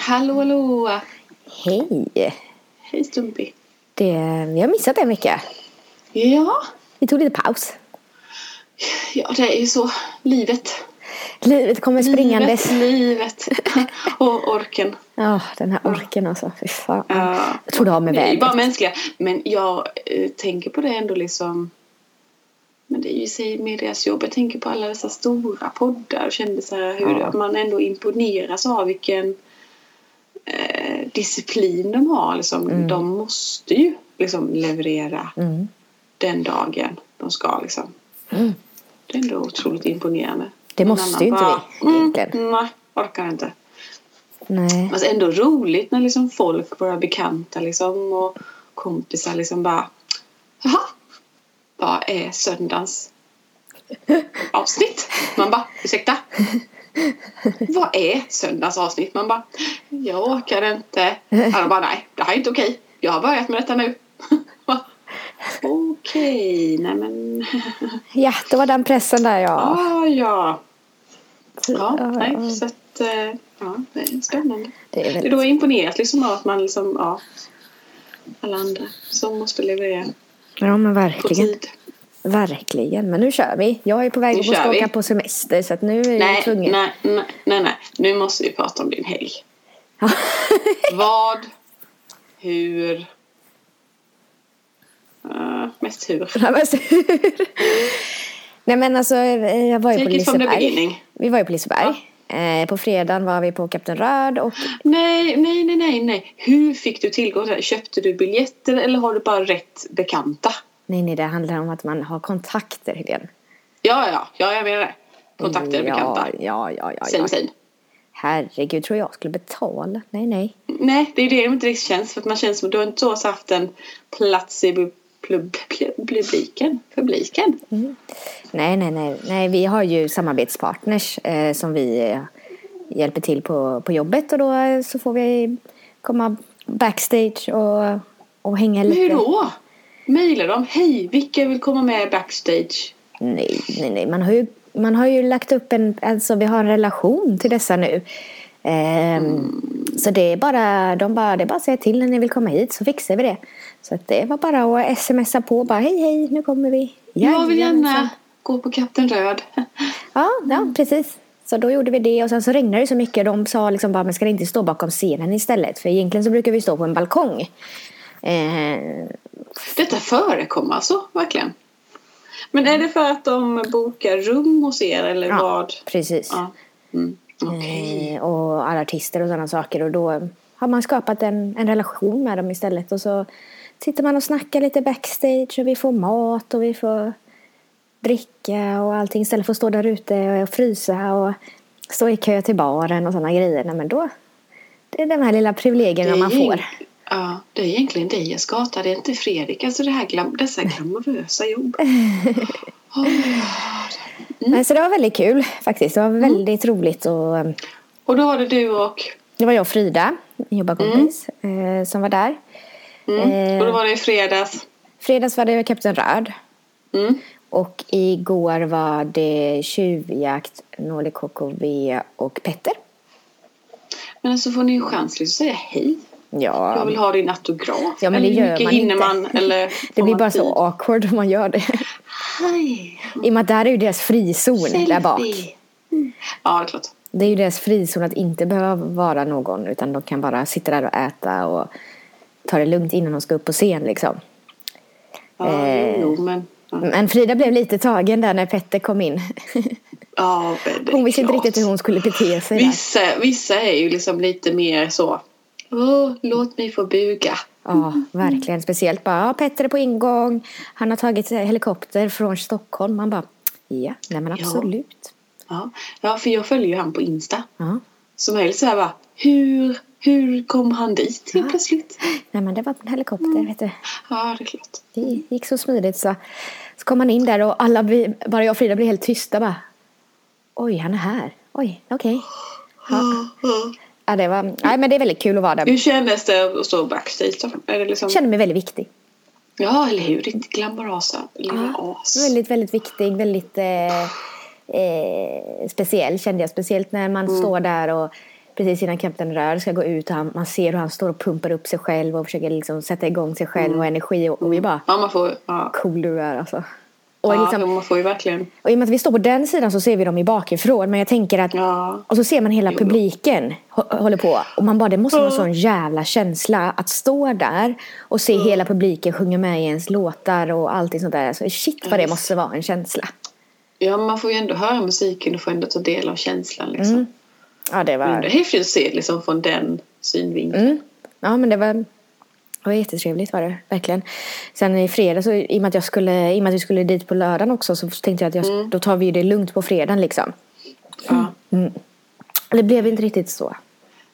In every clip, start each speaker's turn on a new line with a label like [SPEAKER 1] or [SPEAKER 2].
[SPEAKER 1] hallå!
[SPEAKER 2] Hej!
[SPEAKER 1] Hej Stumpy!
[SPEAKER 2] Det, vi har missat en vecka.
[SPEAKER 1] Ja,
[SPEAKER 2] Vi tog lite paus.
[SPEAKER 1] ja det är ju så. Livet.
[SPEAKER 2] Livet kommer springandes.
[SPEAKER 1] Livet, livet. och orken.
[SPEAKER 2] Ja, den här orken alltså. Fy fan.
[SPEAKER 1] Ja.
[SPEAKER 2] Jag tror det har med
[SPEAKER 1] Vi är ju
[SPEAKER 2] vädret.
[SPEAKER 1] bara mänskliga. Men jag eh, tänker på det ändå liksom. Men det är ju i sig med deras jobb. Jag tänker på alla dessa stora poddar och kände så här hur
[SPEAKER 2] Ja.
[SPEAKER 1] att man ändå imponeras av vilken eh, disciplin de har. Liksom. De måste ju liksom leverera
[SPEAKER 2] Mm.
[SPEAKER 1] den dagen de ska liksom.
[SPEAKER 2] Mm.
[SPEAKER 1] Det är ändå otroligt imponerande.
[SPEAKER 2] Det
[SPEAKER 1] Någon
[SPEAKER 2] måste ju
[SPEAKER 1] annan
[SPEAKER 2] inte vi, egentligen.
[SPEAKER 1] Mm, nej, orkar inte.
[SPEAKER 2] Nej.
[SPEAKER 1] Men alltså ändå roligt när liksom folk, våra bekanta liksom och kompisar liksom bara Jaha, vad är söndagens avsnitt? Man bara, ursäkta? Vad är söndagens avsnitt? Man bara, jag orkar inte. Ja, de bara, nej, det här är inte okej. Jag har börjat med detta nu. Okej, nej men
[SPEAKER 2] Ja, det var den pressen där ja.
[SPEAKER 1] Ah, ja. Ja,
[SPEAKER 2] Ja, ja.
[SPEAKER 1] nej, så att, eh, ja, det är spännande.
[SPEAKER 2] Det är
[SPEAKER 1] Det är
[SPEAKER 2] väl...
[SPEAKER 1] då jag imponeras liksom av att man liksom, ja, alla andra som måste leverera
[SPEAKER 2] Ja men
[SPEAKER 1] på
[SPEAKER 2] verkligen.
[SPEAKER 1] tid.
[SPEAKER 2] Verkligen. Men nu kör vi. Jag är på väg
[SPEAKER 1] Nu
[SPEAKER 2] att ska
[SPEAKER 1] kör vi.
[SPEAKER 2] åka på semester så att nu är jag
[SPEAKER 1] Nej, nej,
[SPEAKER 2] tvungen.
[SPEAKER 1] nej, nej, nej, nu måste vi prata om din helg. Vad, hur, eh, mest hur.
[SPEAKER 2] Nej, men så- Nej men alltså eh, jag var ju på
[SPEAKER 1] Take it from the
[SPEAKER 2] Liseberg.
[SPEAKER 1] beginning.
[SPEAKER 2] Vi var ju på Liseberg. Eh, på fredagen var vi på Kapten Röd och
[SPEAKER 1] Nej, nej, nej, nej, nej. Hur fick du tillgång till det? här? Köpte du biljetter eller har du bara rätt bekanta?
[SPEAKER 2] nej nej det handlar om att man har kontakter Helene.
[SPEAKER 1] Ja, ja, ja, jag menar det. Kontakter
[SPEAKER 2] Mm, ja,
[SPEAKER 1] eller bekanta.
[SPEAKER 2] Ja ja ja.
[SPEAKER 1] Same,
[SPEAKER 2] ja.
[SPEAKER 1] same.
[SPEAKER 2] Herregud tror jag skulle betala? Nej nej.
[SPEAKER 1] Nej, det är det som inte riktigt känns. För att man känns som att du har inte så haft en plats i bu- plub- pl- publiken. Publiken?
[SPEAKER 2] Nej nej nej. Nej vi har ju samarbetspartners eh, som vi eh, hjälper till på, på jobbet och då eh, så får vi komma backstage och, och hänga
[SPEAKER 1] Men
[SPEAKER 2] lite.
[SPEAKER 1] hur då? Mailar de? Hej, vilka vill komma med backstage?
[SPEAKER 2] Nej, nej, nej. Man har ju, man har ju lagt upp en, alltså vi har en relation till dessa nu. Ehm,
[SPEAKER 1] Mm.
[SPEAKER 2] Så det är bara, de bara, det är bara att säga till när ni vill komma hit så fixar vi det. Så att det var bara att smsa på bara hej hej nu kommer vi.
[SPEAKER 1] jag vill
[SPEAKER 2] Jajamensan.
[SPEAKER 1] gärna Mm. gå på Kapten Röd.
[SPEAKER 2] Ja, ja precis. Så då gjorde vi det och sen så regnade det så mycket. De sa liksom bara, men ska ni inte stå bakom scenen istället? För egentligen så brukar vi stå på en balkong. Ehm,
[SPEAKER 1] Detta förekommer alltså, verkligen. Men är det för att de bokar rum hos er eller
[SPEAKER 2] Mm. Ja.
[SPEAKER 1] vad?
[SPEAKER 2] precis.
[SPEAKER 1] Ja. Mm. Okej.
[SPEAKER 2] Eh, och alla artister och sådana saker. Och då har man skapat en, en relation med dem istället. Och så sitter man och snackar lite backstage och vi får mat och vi får dricka och allting istället för att stå där ute och frysa och stå i kö till baren och sådana grejer. Nej, men då, det är de här lilla privilegierna man
[SPEAKER 1] egent-
[SPEAKER 2] får.
[SPEAKER 1] Ja, det är egentligen dig jag ska hata. Det är inte Fredrik. Alltså det här glam- dessa glamorösa jobb. Åh,
[SPEAKER 2] Nej, så det var väldigt kul faktiskt. Det var väldigt roligt och eh,
[SPEAKER 1] och då var det du och...
[SPEAKER 2] det var jag och Frida, min jobbarkompis, eh, som var där.
[SPEAKER 1] Mm,
[SPEAKER 2] Eh.
[SPEAKER 1] Och då var det i fredags.
[SPEAKER 2] Fredags var det Kapten Röd.
[SPEAKER 1] Mm.
[SPEAKER 2] Och igår var det tjuvjakt, Nordic KKV och Petter.
[SPEAKER 1] Men så får ni en chans liksom, att säga hej. Jag
[SPEAKER 2] Ja,
[SPEAKER 1] vill ha din autograf.
[SPEAKER 2] Ja, men det
[SPEAKER 1] Eller
[SPEAKER 2] gör
[SPEAKER 1] hur mycket
[SPEAKER 2] man
[SPEAKER 1] hinner
[SPEAKER 2] inte.
[SPEAKER 1] man? Eller
[SPEAKER 2] det
[SPEAKER 1] får
[SPEAKER 2] blir
[SPEAKER 1] man
[SPEAKER 2] bara så
[SPEAKER 1] tid?
[SPEAKER 2] awkward om man gör det.
[SPEAKER 1] Hej!
[SPEAKER 2] I och med att där är ju deras frizon där bak.
[SPEAKER 1] Selfie. Mm. Ja, det är klart.
[SPEAKER 2] Det är ju deras frizon att inte behöva vara någon utan de kan bara sitta där och äta och ta det lugnt innan de ska upp på scen liksom.
[SPEAKER 1] Ja,
[SPEAKER 2] Eh.
[SPEAKER 1] jo, men... Ja,
[SPEAKER 2] Men Frida blev lite tagen där när Petter kom in.
[SPEAKER 1] ja men det är
[SPEAKER 2] Hon visste inte
[SPEAKER 1] klart.
[SPEAKER 2] riktigt hur hon skulle bete sig där.
[SPEAKER 1] Vissa, vissa är ju liksom lite mer så... Åh, låt mig få buga.
[SPEAKER 2] Ja, verkligen. Speciellt bara, ja, Petter är på ingång. Han har tagit eh, helikopter från Stockholm. Man bara, ja, nej men
[SPEAKER 1] Ja.
[SPEAKER 2] absolut.
[SPEAKER 1] Ja, ja för jag följer ju han på Insta.
[SPEAKER 2] Ja.
[SPEAKER 1] Som helst så här bara, hur, hur kom han dit helt plötsligt?
[SPEAKER 2] Nej men det var på en helikopter, vet du.
[SPEAKER 1] Ja, det är klart.
[SPEAKER 2] Det gick så smidigt så. Så kom han in där och alla, blir- bara jag och Frida blev helt tysta bara. Oj, han är här. Oj, okej. Ja.
[SPEAKER 1] Ja.
[SPEAKER 2] Ja, det var, nej men det är väldigt kul att vara där.
[SPEAKER 1] Hur kändes det att stå backstage då? Är det liksom...
[SPEAKER 2] Jag kände mig väldigt viktig.
[SPEAKER 1] Ja, eller hur? Ditt glamorösa lilla as.
[SPEAKER 2] Väldigt, väldigt viktig,
[SPEAKER 1] Mm.
[SPEAKER 2] väldigt eh, eh, speciell kände jag. Speciellt när man står där och precis innan Kapten Rör ska gå ut och han, man ser hur han står och pumpar upp sig själv och försöker liksom sätta igång sig själv
[SPEAKER 1] Mm.
[SPEAKER 2] och energi och, och vi bara
[SPEAKER 1] Ja, man får, ja.
[SPEAKER 2] cool du är alltså. Och,
[SPEAKER 1] Ja,
[SPEAKER 2] liksom,
[SPEAKER 1] man får ju verkligen...
[SPEAKER 2] och i och med att vi står på den sidan så ser vi dem ju bakifrån men jag tänker att
[SPEAKER 1] Ja.
[SPEAKER 2] och så ser man hela
[SPEAKER 1] Jo.
[SPEAKER 2] publiken hå- håller på. Och man bara, det måste vara en sån jävla känsla att stå där och se hela publiken sjunga med i ens låtar och allting sånt där. Så shit vad det
[SPEAKER 1] visst.
[SPEAKER 2] måste vara en känsla.
[SPEAKER 1] ja, man får ju ändå höra musiken och får ändå ta del av känslan. Liksom.
[SPEAKER 2] Mm. Ja, det
[SPEAKER 1] Men det
[SPEAKER 2] var...
[SPEAKER 1] är häftigt att se liksom, från den synvinkeln.
[SPEAKER 2] Mm. Ja, men det var... Det var jättetrevligt var det, verkligen. Sen i fredag så i och med att, jag skulle, i och med att vi skulle dit på lördagen också så tänkte jag att jag, då tar vi ju det lugnt på fredagen liksom.
[SPEAKER 1] Ja.
[SPEAKER 2] Det blev inte riktigt så.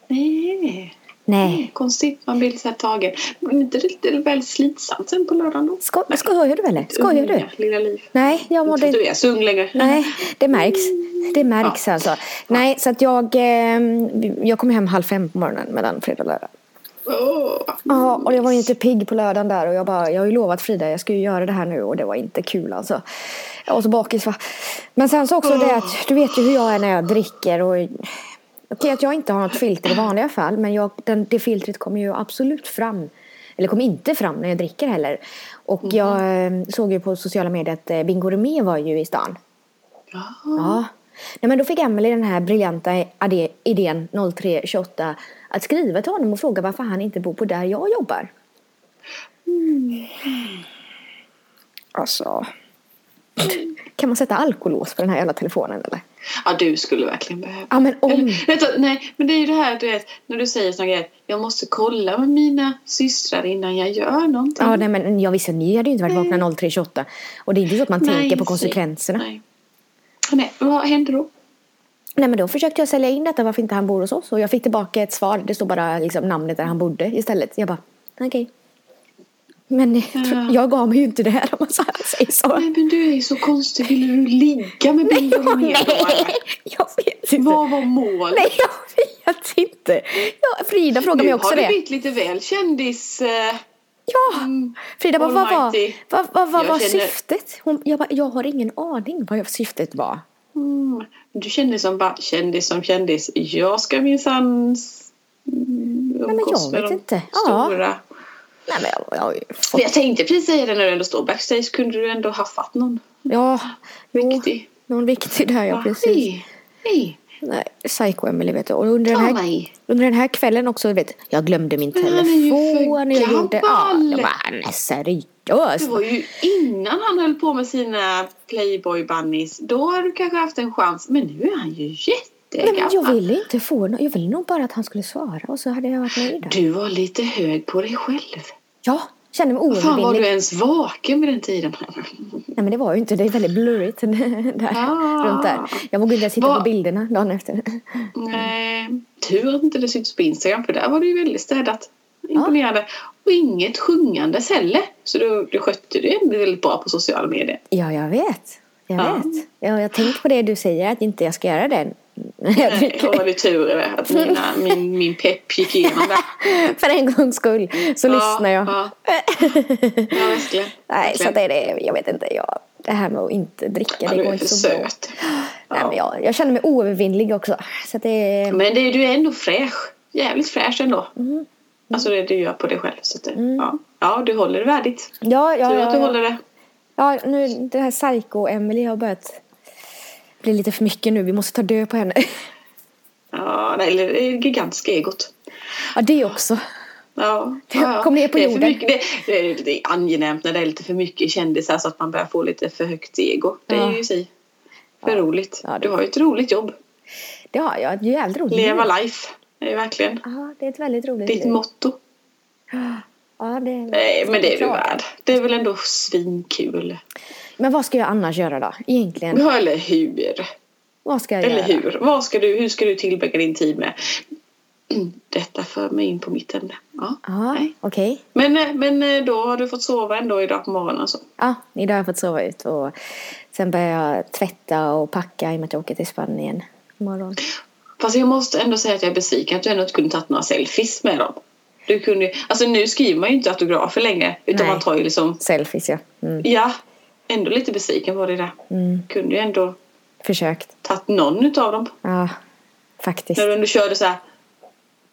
[SPEAKER 1] Nej.
[SPEAKER 2] Nej.
[SPEAKER 1] Konstigt, man blir så här tagen. Men inte det det är väl slitsamt sen på lördagen då?
[SPEAKER 2] Sko- skojar du eller? Skojar du?
[SPEAKER 1] Unga, Lilla Liv.
[SPEAKER 2] Nej, jag
[SPEAKER 1] Jag
[SPEAKER 2] mådde
[SPEAKER 1] tror inte du är så ung längre.
[SPEAKER 2] Nej, det märks. Det märks alltså. Nej, så att jag, eh, jag kom hem halv fem på morgonen mellan fredag och lördag.
[SPEAKER 1] Åh.
[SPEAKER 2] Ja, och jag var ju inte pigg på lördagen där och jag bara, jag har ju lovat Frida, jag ska ju göra det här nu och det var inte kul alltså. Jag var så bakis va. Men sen så också det att, du vet ju hur jag är när jag dricker och Okej att jag inte har något filter i vanliga fall men jag, den, det filtret kommer ju absolut fram. Eller kommer inte fram när jag dricker heller. Och jag eh, såg ju på sociala medier att eh, Bingo Remé var ju i stan.
[SPEAKER 1] Ja.
[SPEAKER 2] Ja. Nej, men då fick Emily den här briljanta ade- idén 0328 att skriva till honom och fråga varför han inte bor på där jag jobbar.
[SPEAKER 1] Mm.
[SPEAKER 2] Alltså. Kan man sätta alkolås på den här jävla telefonen eller?
[SPEAKER 1] ja, du skulle verkligen behöva.
[SPEAKER 2] Ja men om.
[SPEAKER 1] Eller, vänta, nej, men det är ju det här du vet, när du säger sådana grejer. Jag måste kolla med mina systrar innan jag gör någonting.
[SPEAKER 2] Ja nej, men jag visste ni hade ju inte varit vakna 0328. Och det är inte så att man
[SPEAKER 1] Nej,
[SPEAKER 2] tänker på
[SPEAKER 1] säg-
[SPEAKER 2] konsekvenserna. Nej.
[SPEAKER 1] Nej. Nej, vad händer då?
[SPEAKER 2] men då försökte jag sälja in detta varför inte han bor hos oss. Och jag fick tillbaka ett svar. Det stod bara liksom namnet där han bodde istället. Jag bara okej. Men jag, tror,
[SPEAKER 1] Ja.
[SPEAKER 2] jag gav mig ju inte det här om man så här säger så.
[SPEAKER 1] Nej, men du är ju så konstig. Ville du ligga med Bingo Remé då?
[SPEAKER 2] Nej, jag vet inte.
[SPEAKER 1] Vad var målet?
[SPEAKER 2] Nej, jag vet inte. Ja, Frida frågade
[SPEAKER 1] Nu
[SPEAKER 2] mig också
[SPEAKER 1] har du
[SPEAKER 2] det. Ah.
[SPEAKER 1] blivit lite väl kändis... eh,
[SPEAKER 2] Ja,
[SPEAKER 1] mm.
[SPEAKER 2] Frida bara, vad var,
[SPEAKER 1] Almighty.
[SPEAKER 2] vad, vad, vad
[SPEAKER 1] Jag
[SPEAKER 2] var
[SPEAKER 1] känner-
[SPEAKER 2] syftet? Hon, jag bara, jag har ingen aning vad syftet var.
[SPEAKER 1] Mm. Du känner som bara kändis som kändis. Jag ska minsann s-
[SPEAKER 2] men
[SPEAKER 1] umgås
[SPEAKER 2] jag
[SPEAKER 1] med
[SPEAKER 2] vet
[SPEAKER 1] de
[SPEAKER 2] inte. Ja.
[SPEAKER 1] stora.
[SPEAKER 2] Nej, men jag, jag, har ju
[SPEAKER 1] Men
[SPEAKER 2] fått-
[SPEAKER 1] Jag tänkte precis säga det när du ändå står backstage. Kunde du ändå haffat någon
[SPEAKER 2] ja, jo,
[SPEAKER 1] viktig?
[SPEAKER 2] någon viktig där, ja
[SPEAKER 1] Va?
[SPEAKER 2] precis.
[SPEAKER 1] Nej, nej.
[SPEAKER 2] Nej, psycho Emily vet du. Och under den,
[SPEAKER 1] Ta
[SPEAKER 2] här,
[SPEAKER 1] mig.
[SPEAKER 2] under den här kvällen också, vet, jag glömde min
[SPEAKER 1] Men han är ju för
[SPEAKER 2] telefon. Jag gjorde, ja,
[SPEAKER 1] gammal.
[SPEAKER 2] jag bara, nej seriöst.
[SPEAKER 1] Det var ju innan han höll på med sina Playboy bunnies. Då har du kanske haft en chans. Men nu är han ju
[SPEAKER 2] Nej, men jag
[SPEAKER 1] jättegammal.
[SPEAKER 2] ville inte få no- Jag ville nog bara att han skulle svara och så hade jag varit nöjd. där.
[SPEAKER 1] Du var lite hög på dig själv.
[SPEAKER 2] Ja, kände mig
[SPEAKER 1] Fan var
[SPEAKER 2] oövervinnlig.
[SPEAKER 1] du ens vaken vid den tiden?
[SPEAKER 2] Nej men det var ju inte, det är väldigt blurrigt där,
[SPEAKER 1] Ah.
[SPEAKER 2] runt där. Jag vågade inte ens titta
[SPEAKER 1] Vad-
[SPEAKER 2] på bilderna dagen efter. Mm.
[SPEAKER 1] Nej, Eh, tur att inte det syntes på Instagram för där var det ju väldigt städat. Imponerande. Och inget sjungandes heller. Så du, du skötte det ändå väldigt bra på sociala medier.
[SPEAKER 2] Ja, jag vet. Jag
[SPEAKER 1] Ja.
[SPEAKER 2] vet. Ja, jag tänkte på det du säger, att inte jag ska göra det när jag
[SPEAKER 1] Nej,
[SPEAKER 2] dricker.
[SPEAKER 1] då var det tur eh, att mina, min, min pepp gick igenom där.
[SPEAKER 2] För en gångs skull så
[SPEAKER 1] Ja,
[SPEAKER 2] lyssnar jag.
[SPEAKER 1] Ja, ja verkligen.
[SPEAKER 2] Nej, så
[SPEAKER 1] verkligen.
[SPEAKER 2] det är det. Jag vet inte. Jag, det här med att inte dricka,
[SPEAKER 1] Ja,
[SPEAKER 2] det
[SPEAKER 1] du
[SPEAKER 2] går
[SPEAKER 1] Alltså, är
[SPEAKER 2] inte
[SPEAKER 1] för
[SPEAKER 2] så bra.
[SPEAKER 1] söt.
[SPEAKER 2] Nej, men
[SPEAKER 1] Ja. Mm.
[SPEAKER 2] jag, jag känner mig oövervinnlig också. Så att det är...
[SPEAKER 1] Men det, du är ändå fräsch. Jävligt fräsch ändå.
[SPEAKER 2] Mm.
[SPEAKER 1] Alltså det du gör på dig själv. Så att det, ja. ja, du håller det värdigt.
[SPEAKER 2] Ja, Mm. ja,
[SPEAKER 1] Tur att
[SPEAKER 2] ja,
[SPEAKER 1] du
[SPEAKER 2] ja.
[SPEAKER 1] håller det.
[SPEAKER 2] ja nu, den här psycho-Emily har börjat bli lite för mycket nu. Vi måste ta död på henne.
[SPEAKER 1] Ja, nej, eller det är gigantiska egot.
[SPEAKER 2] Ja, det också.
[SPEAKER 1] Ja, ja, ja.
[SPEAKER 2] Kom ner på
[SPEAKER 1] det är för
[SPEAKER 2] jorden.
[SPEAKER 1] Mycket, det, det, är, det är angenämt när det är lite för mycket kändisar så att man börjar få lite för högt ego. Det
[SPEAKER 2] Ja.
[SPEAKER 1] är ju si. För roligt.
[SPEAKER 2] Ja, det- Mm.
[SPEAKER 1] Du har ju ett roligt jobb.
[SPEAKER 2] Det har jag. Det är jävligt roligt.
[SPEAKER 1] Leva life. Det är verkligen
[SPEAKER 2] Ja, det är ett väldigt roligt
[SPEAKER 1] ditt
[SPEAKER 2] liv.
[SPEAKER 1] motto.
[SPEAKER 2] ja, det...
[SPEAKER 1] Nej, men det är du
[SPEAKER 2] Klart.
[SPEAKER 1] värd. Det är väl ändå svinkul.
[SPEAKER 2] Men vad ska jag annars göra då? Egentligen.
[SPEAKER 1] Ja, eller hur?
[SPEAKER 2] Vad ska jag
[SPEAKER 1] Mm. Eller
[SPEAKER 2] göra?
[SPEAKER 1] hur? Vad ska du, hur ska du tillbringa din tid med? Mm, Detta för mig in på mitt ämne. Ja.
[SPEAKER 2] Ja,
[SPEAKER 1] Nej.
[SPEAKER 2] okej.
[SPEAKER 1] Men, eh, men eh, då har du fått sova ändå idag på morgonen. Så.
[SPEAKER 2] Ja, idag har jag fått sova ut och sen börjar jag tvätta och packa i och med att jag åker till Spanien imorgon.
[SPEAKER 1] Fast jag måste ändå säga att jag är besviken att du ändå inte kunde tagit några selfies med dem. Du kunde, ju- alltså nu skriver man ju inte autografer längre utan
[SPEAKER 2] Nej.
[SPEAKER 1] man tar ju liksom,
[SPEAKER 2] Selfies ja. Mm.
[SPEAKER 1] ja, ändå lite besviken var det där.
[SPEAKER 2] Mm.
[SPEAKER 1] Kunde ju ändå
[SPEAKER 2] Försökt.
[SPEAKER 1] tagit någon utav dem
[SPEAKER 2] Ja, faktiskt.
[SPEAKER 1] när du ändå körde så här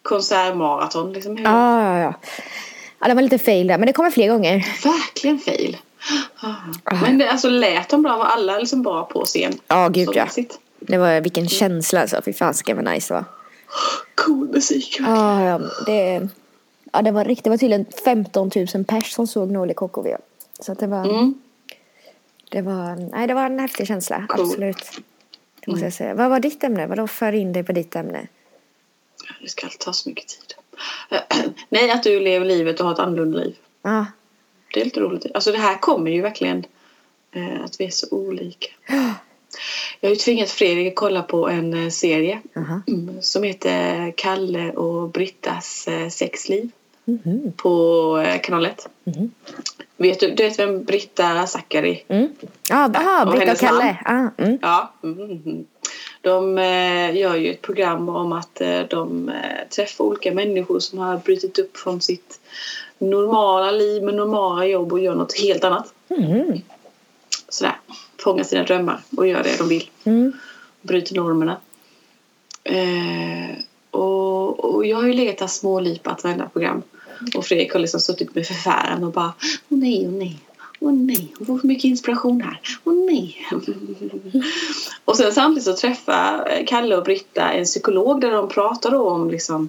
[SPEAKER 1] konsertmaraton. Liksom. Hur-
[SPEAKER 2] Ja, ja, ja. Ja, det var lite fail där, men det kommer fler gånger.
[SPEAKER 1] Verkligen fail. Ah. Men det, alltså, lät de bra? Var alla liksom bra på scen?
[SPEAKER 2] Ja, gud ja.
[SPEAKER 1] Sådant.
[SPEAKER 2] Det var vilken känsla alltså. Fy fan, ska det vara nice va?
[SPEAKER 1] Cool musik. verkligen.
[SPEAKER 2] Ja, ja, det, ja, det var riktigt. Det var tydligen 15 000 pers som såg Norli KKV. Så att det var,
[SPEAKER 1] Mm.
[SPEAKER 2] det var, nej, det var en häftig känsla,
[SPEAKER 1] Cool.
[SPEAKER 2] absolut. Det måste jag säga. Vad var ditt ämne? Vadå för in dig på ditt ämne?
[SPEAKER 1] Det ska inte ta så mycket tid. Nej, att du lever livet och har ett annorlunda liv.
[SPEAKER 2] Ja,
[SPEAKER 1] Det är lite roligt. Alltså det här kommer ju verkligen eh, att vi är så olika. Jag har ju tvingat Fredrik att kolla på en eh, serie
[SPEAKER 2] aha.
[SPEAKER 1] mm, som heter Kalle och Brittas eh, sexliv
[SPEAKER 2] Mhm.
[SPEAKER 1] på eh, kanal 1.
[SPEAKER 2] Mhm.
[SPEAKER 1] Vet du, du vet vem Britta Zackari
[SPEAKER 2] Mm. Ja, aha,
[SPEAKER 1] och
[SPEAKER 2] Britta och
[SPEAKER 1] hennes
[SPEAKER 2] Kalle. Ah, mm.
[SPEAKER 1] Ja. mhm. De eh, gör ju ett program om att eh, de eh, träffar olika människor som har brutit upp från sitt normala liv med normala jobb och gör något helt annat.
[SPEAKER 2] Mhm.
[SPEAKER 1] Sådär. Fångar sina drömmar och gör det de vill.
[SPEAKER 2] Mm.
[SPEAKER 1] Bryter normerna. Eh, och, och jag har ju letat smålipat varenda program. Och Fredrik har liksom suttit med förfäran och bara Åh nej, åh nej, åh nej, hon får för mycket inspiration här. Åh nej. och sen samtidigt så träffar eh, Kalle och Britta en psykolog där de pratar då om liksom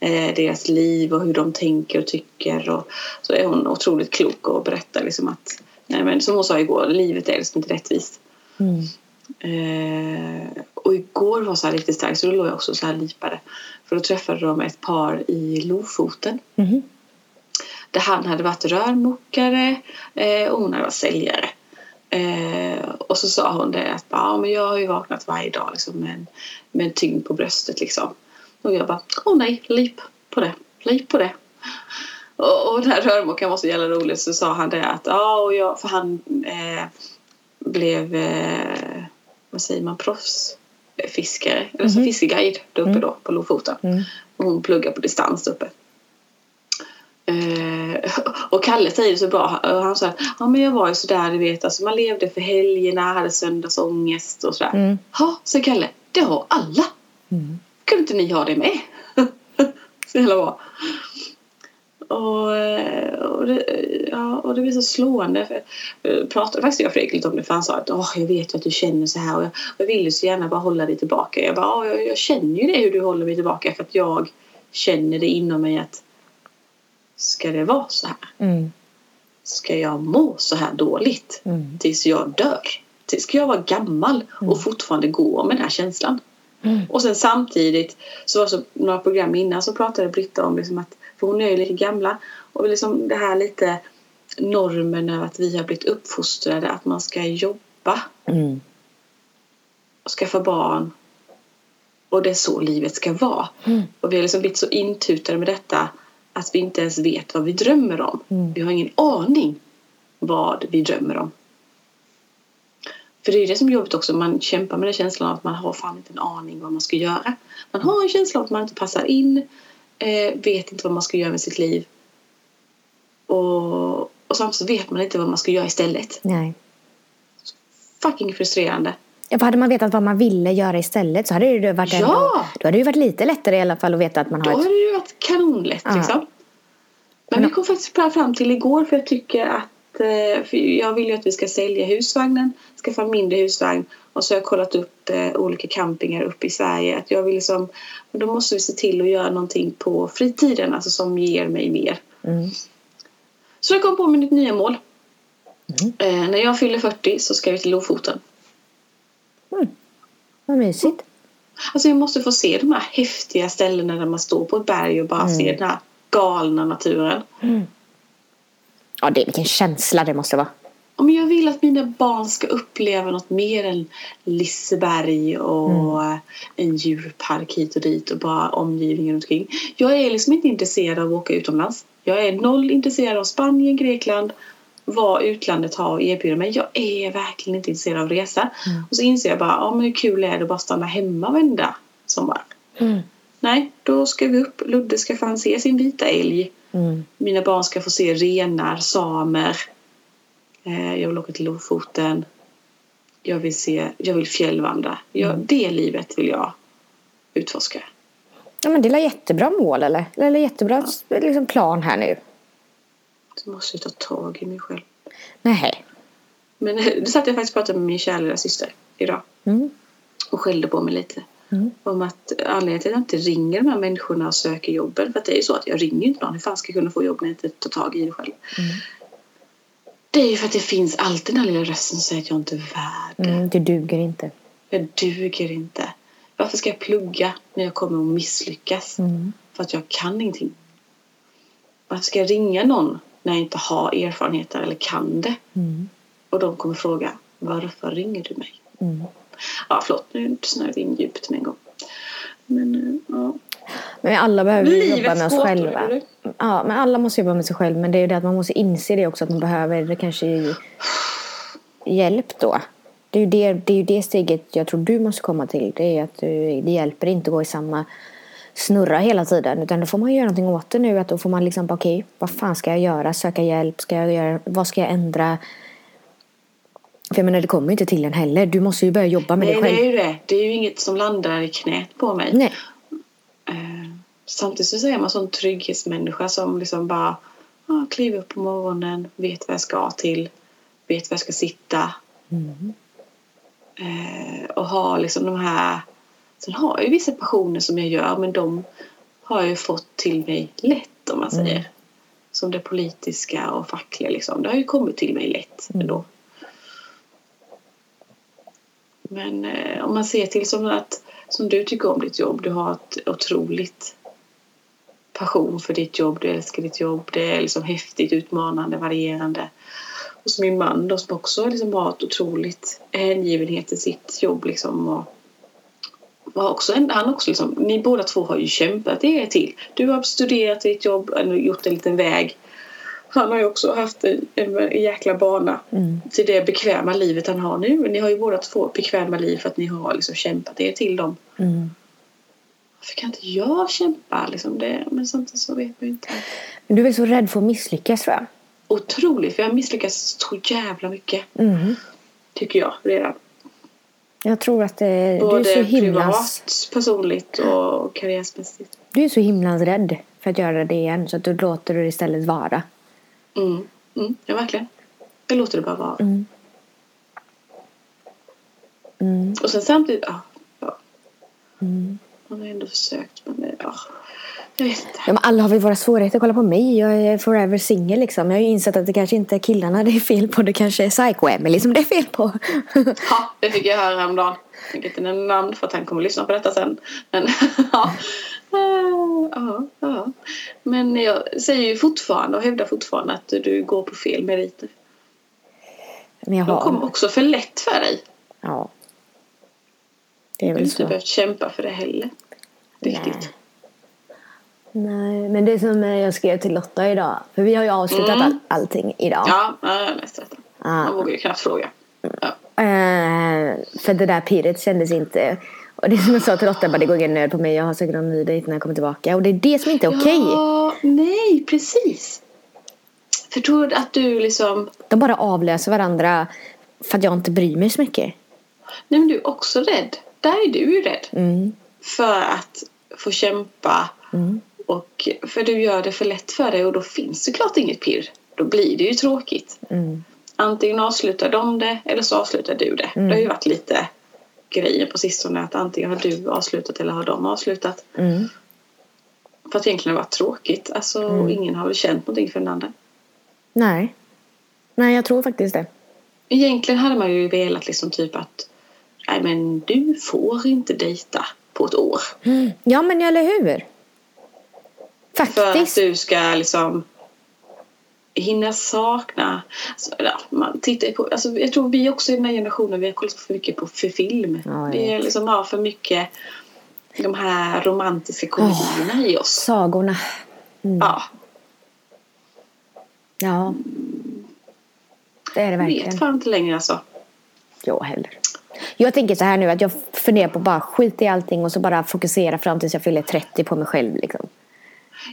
[SPEAKER 1] eh, deras liv och hur de tänker och tycker. Och så är hon otroligt klok och berättar liksom att, nej men som hon sa igår, livet är liksom inte rättvist.
[SPEAKER 2] Mm.
[SPEAKER 1] Eh, och igår var så här riktigt starkt så då låg jag också så här lipade. För då träffade de ett par i Lofoten.
[SPEAKER 2] Mhm.
[SPEAKER 1] Där han hade varit rörmokare eh, och hon hade varit säljare. Eh, och så sa hon det att ja, men jag har ju vaknat varje dag liksom, med, en, med en tyngd på bröstet. Liksom. Och jag bara, åh nej, lip på det, lip på det. Och, och den här rörmokaren var så jävla rolig så sa han det att ja, och jag, för han eh, blev, eh, vad säger man, proffsfiskare, eller så
[SPEAKER 2] Mhm.
[SPEAKER 1] fiskeguide där uppe
[SPEAKER 2] Mm.
[SPEAKER 1] då på Lofoten.
[SPEAKER 2] Mm.
[SPEAKER 1] Och Hon pluggar på distans där uppe. Eh, och Kalle säger det så bra. Och han sa att ja, men jag var ju sådär, du vet, alltså, man levde för helgerna, hade söndagsångest och sådär.
[SPEAKER 2] Mm.
[SPEAKER 1] Ja, sa Kalle, det har alla.
[SPEAKER 2] Mm.
[SPEAKER 1] Kunde inte ni ha det med? så jävla bra. Och, eh, och, det, ja, och det blir så slående. För, eh, pratade faktiskt jag och Fredrik lite om det för han sa att åh jag vet ju att du känner så här och jag, jag vill ju så gärna bara hålla dig tillbaka. Jag bara, "Ja, jag, jag känner ju det hur du håller mig tillbaka för att jag känner det inom mig att ska det vara så här?
[SPEAKER 2] Mm.
[SPEAKER 1] Ska jag må så här dåligt
[SPEAKER 2] Mm.
[SPEAKER 1] tills jag dör? Tills ska jag vara gammal och fortfarande gå med den här känslan?
[SPEAKER 2] Mm.
[SPEAKER 1] Och sen samtidigt så var det så några program innan så pratade Britta om liksom att, för hon är ju lite gamla och liksom det här lite normen av att vi har blivit uppfostrade att man ska jobba
[SPEAKER 2] Mm.
[SPEAKER 1] och skaffa barn och det är så livet ska vara.
[SPEAKER 2] Mm.
[SPEAKER 1] Och vi har liksom blivit så intutade med detta att vi inte ens vet vad vi drömmer om.
[SPEAKER 2] Mm.
[SPEAKER 1] Vi har ingen aning vad vi drömmer om. För det är ju det som är jobbigt också, man kämpar med den känslan av att man har fan inte en aning vad man ska göra. Man har en känsla av att man inte passar in, eh, vet inte vad man ska göra med sitt liv. Och, och samtidigt vet man inte vad man ska göra istället.
[SPEAKER 2] Nej.
[SPEAKER 1] Fucking frustrerande.
[SPEAKER 2] Ja, för hade man vetat vad man ville göra istället så hade det ju varit
[SPEAKER 1] Ja!
[SPEAKER 2] ändå, då hade det ju varit lite lättare i alla fall att veta att man
[SPEAKER 1] Då
[SPEAKER 2] har
[SPEAKER 1] hade
[SPEAKER 2] ett...
[SPEAKER 1] det ju varit kanonlätt
[SPEAKER 2] Ja.
[SPEAKER 1] liksom. Men vi kom faktiskt bara fram till igår för jag tycker att eh, för jag vill ju att vi ska sälja husvagnen, skaffa en mindre husvagn och så har jag kollat upp eh, olika campingar uppe i Sverige. Att jag vill liksom, men då måste vi se till att göra någonting på fritiden alltså som ger mig mer.
[SPEAKER 2] Mm.
[SPEAKER 1] Så jag kom på med mitt nya mål.
[SPEAKER 2] Mm.
[SPEAKER 1] Eh, när jag fyller 40 så ska vi till Lofoten.
[SPEAKER 2] Vad mysigt.
[SPEAKER 1] Alltså jag måste få se de här häftiga ställena där man står på ett berg och bara
[SPEAKER 2] Mm.
[SPEAKER 1] ser den här galna naturen.
[SPEAKER 2] Ja, det, vilken känsla det måste vara.
[SPEAKER 1] Ja, men jag vill att mina barn ska uppleva något mer än Liseberg och en djurpark hit och dit och bara omgivningen runt omkring. Jag är liksom inte intresserad av att åka utomlands. Jag är noll intresserad av Spanien, Grekland, vad utlandet har att erbjuda mig. Jag är verkligen inte intresserad av resa. Och så inser jag bara, ja men hur kul är det att bara stanna hemma varenda sommar?
[SPEAKER 2] Mm.
[SPEAKER 1] Nej, då ska vi upp. Ludde ska fan se sin vita älg.
[SPEAKER 2] Mm.
[SPEAKER 1] Mina barn ska få se renar, samer. Eh, jag vill åka till Lofoten. Jag Mm. vill, se, jag vill fjällvandra. Jag, Det livet vill jag utforska.
[SPEAKER 2] Ja men det är jättebra mål eller? Eller jättebra liksom, plan här nu.
[SPEAKER 1] Så måste jag ta tag i mig själv.
[SPEAKER 2] Nej.
[SPEAKER 1] Men eh, då satt jag faktiskt och pratade med min kära lilla syster idag.
[SPEAKER 2] Mm.
[SPEAKER 1] och skällde på mig lite.
[SPEAKER 2] Mm.
[SPEAKER 1] Om att anledningen till att jag inte ringer de här människorna och söker jobben. För att det är ju så att jag ringer ju inte någon. Hur fan ska jag kunna få jobb när jag inte tar tag i det själv?
[SPEAKER 2] Mm.
[SPEAKER 1] Det är ju för att det finns alltid den här lilla rösten som säger att jag inte är värd det.
[SPEAKER 2] Mm, det duger inte.
[SPEAKER 1] Jag duger inte. Varför ska jag plugga när jag kommer att misslyckas?
[SPEAKER 2] Mm.
[SPEAKER 1] För att jag kan ingenting. Varför ska jag ringa någon när jag inte har erfarenheter eller kan det?
[SPEAKER 2] Mm.
[SPEAKER 1] Och de kommer fråga varför ringer du mig?
[SPEAKER 2] Mm.
[SPEAKER 1] Ja, förlåt, nu snöade vi in djupt med en gång. Men, eh, ja.
[SPEAKER 2] Men alla behöver ju jobba
[SPEAKER 1] Livets
[SPEAKER 2] med oss
[SPEAKER 1] gåtor,
[SPEAKER 2] själva.
[SPEAKER 1] är det?
[SPEAKER 2] Ja, men alla måste jobba med sig själv. Men det är ju det att man måste inse det också att man behöver kanske ju hjälp då. Det är, ju det, det är ju det steget jag tror du måste komma till. Det är att du, det hjälper inte att gå i samma snurra hela tiden. Utan då får man göra någonting åt det nu. Att då får man liksom, bara, okej, vad fan ska jag göra? Söka hjälp? Ska jag göra, vad ska jag ändra? För jag menar, det kommer ju inte till en heller. Du måste ju börja jobba med dig
[SPEAKER 1] Nej, det är
[SPEAKER 2] själv.
[SPEAKER 1] ju det. Det är ju inget som landar i knät på mig.
[SPEAKER 2] Nej.
[SPEAKER 1] Eh, samtidigt så är man sån trygghetsmänniska som liksom bara ah, kliver upp på morgonen, vet vad jag ska till, vet var jag ska sitta.
[SPEAKER 2] Mm.
[SPEAKER 1] Eh, och har liksom de här... Sen har jag ju vissa passioner som jag gör men de har jag ju fått till mig lätt om man
[SPEAKER 2] Mm.
[SPEAKER 1] säger. Som det politiska och fackliga liksom. Det har ju kommit till mig lätt
[SPEAKER 2] Mm.
[SPEAKER 1] ändå. Men eh, om man ser till som att som du tycker om ditt jobb, du har ett otroligt passion för ditt jobb, du älskar ditt jobb, det är liksom häftigt, utmanande, varierande. Och som min man då som också liksom har ett otroligt hängivenhet till sitt jobb liksom och var också en, han också liksom, ni båda två har ju kämpat er till. Du har studerat ditt jobb, eller gjort en liten väg. Han har ju också haft en, en jäkla bana
[SPEAKER 2] Mm.
[SPEAKER 1] till det bekväma livet han har nu. Ni har ju båda två bekväma liv för att ni har liksom kämpat er till dem.
[SPEAKER 2] Mm.
[SPEAKER 1] Varför kan inte jag kämpa? Liksom det? Men samtidigt så vet man ju inte.
[SPEAKER 2] Men Du är väl så rädd för att misslyckas tror jag.
[SPEAKER 1] Otroligt, för jag misslyckas så jävla mycket.
[SPEAKER 2] Mm.
[SPEAKER 1] Tycker jag redan.
[SPEAKER 2] Jag tror att eh, du är så
[SPEAKER 1] Både
[SPEAKER 2] himla...
[SPEAKER 1] privat, personligt och karriärsmässigt.
[SPEAKER 2] Du är så himlans rädd för att göra det igen så att du låter det istället vara.
[SPEAKER 1] Mm. Mm. Ja, verkligen. Jag låter det bara vara.
[SPEAKER 2] Mm. Mm,
[SPEAKER 1] Och sen samtidigt, ja. ja.
[SPEAKER 2] mm.
[SPEAKER 1] Man har ju ändå försökt, men det- ja. Jag vet inte.
[SPEAKER 2] Ja, men alla har väl våra svårigheter. Kolla på mig. Jag är forever single liksom. Jag har ju insett att det kanske inte är killarna det är fel på. Det kanske är psycho-Emelie som det är fel på.
[SPEAKER 1] Ja, det fick jag höra häromdagen. Jag tänker inte nämna namn för att han kommer att lyssna på detta sen. Men ja. Eh, ja, ja. Men jag säger ju fortfarande och hävdar fortfarande att du går på fel meriter.
[SPEAKER 2] men jag
[SPEAKER 1] De kommer
[SPEAKER 2] har...
[SPEAKER 1] också för lätt för dig.
[SPEAKER 2] Ja. Det är
[SPEAKER 1] Du har
[SPEAKER 2] väl
[SPEAKER 1] inte
[SPEAKER 2] så.
[SPEAKER 1] behövt kämpa för det heller. Riktigt.
[SPEAKER 2] Nej, men det som eh, jag skrev till Lotta idag. För vi har ju avslutat
[SPEAKER 1] Mm.
[SPEAKER 2] all, allting idag.
[SPEAKER 1] Ja, ja, jag läste detta.
[SPEAKER 2] Ah.
[SPEAKER 1] Man vågar ju knappt fråga. Ja.
[SPEAKER 2] Eh, för det där pirret kändes inte... Och det är som jag sa till Lotta, bara, det går ingen nöd på mig. Jag har säkert någon ny dejt när jag kommer tillbaka. Och det är det som inte är okej.
[SPEAKER 1] Ja, nej, precis. För tror du att du liksom...
[SPEAKER 2] De bara avlöser varandra för att jag inte bryr mig så mycket.
[SPEAKER 1] Nej, men du är också rädd. Där är du ju rädd.
[SPEAKER 2] Mm,
[SPEAKER 1] För att få kämpa
[SPEAKER 2] mm,
[SPEAKER 1] Och för du gör det för lätt för dig och då finns det klart inget pirr. Då blir det ju tråkigt.
[SPEAKER 2] mm,
[SPEAKER 1] Antingen avslutar de det eller så avslutar du det.
[SPEAKER 2] Mm.
[SPEAKER 1] Det har ju varit lite grejer på sistone att antingen har du avslutat eller har de avslutat.
[SPEAKER 2] mm.
[SPEAKER 1] För att egentligen har det varit tråkigt. Alltså
[SPEAKER 2] Mm.
[SPEAKER 1] ingen har väl känt någonting för den andra.
[SPEAKER 2] Nej. Nej, jag tror faktiskt det.
[SPEAKER 1] Egentligen hade man ju velat liksom typ att nej men du får inte dejta på ett år.
[SPEAKER 2] Ja, men eller hur?
[SPEAKER 1] För att
[SPEAKER 2] Faktiskt.
[SPEAKER 1] du ska liksom hinna sakna. Alltså, ja, man tittar ju på, alltså, jag tror vi också i den här generationen vi har kollat för mycket på för film.
[SPEAKER 2] Ja, jag
[SPEAKER 1] vi är
[SPEAKER 2] vet.
[SPEAKER 1] liksom har för mycket de här romantiska komedierna i oss.
[SPEAKER 2] Sagorna. Mm.
[SPEAKER 1] Ja,
[SPEAKER 2] Ja. Det är det
[SPEAKER 1] jag
[SPEAKER 2] verkligen.
[SPEAKER 1] vet fan inte längre alltså.
[SPEAKER 2] Jag heller. Jag tänker så här nu att jag funderar på att bara skita i allting och så bara fokusera fram tills jag fyller 30 på mig själv. Liksom.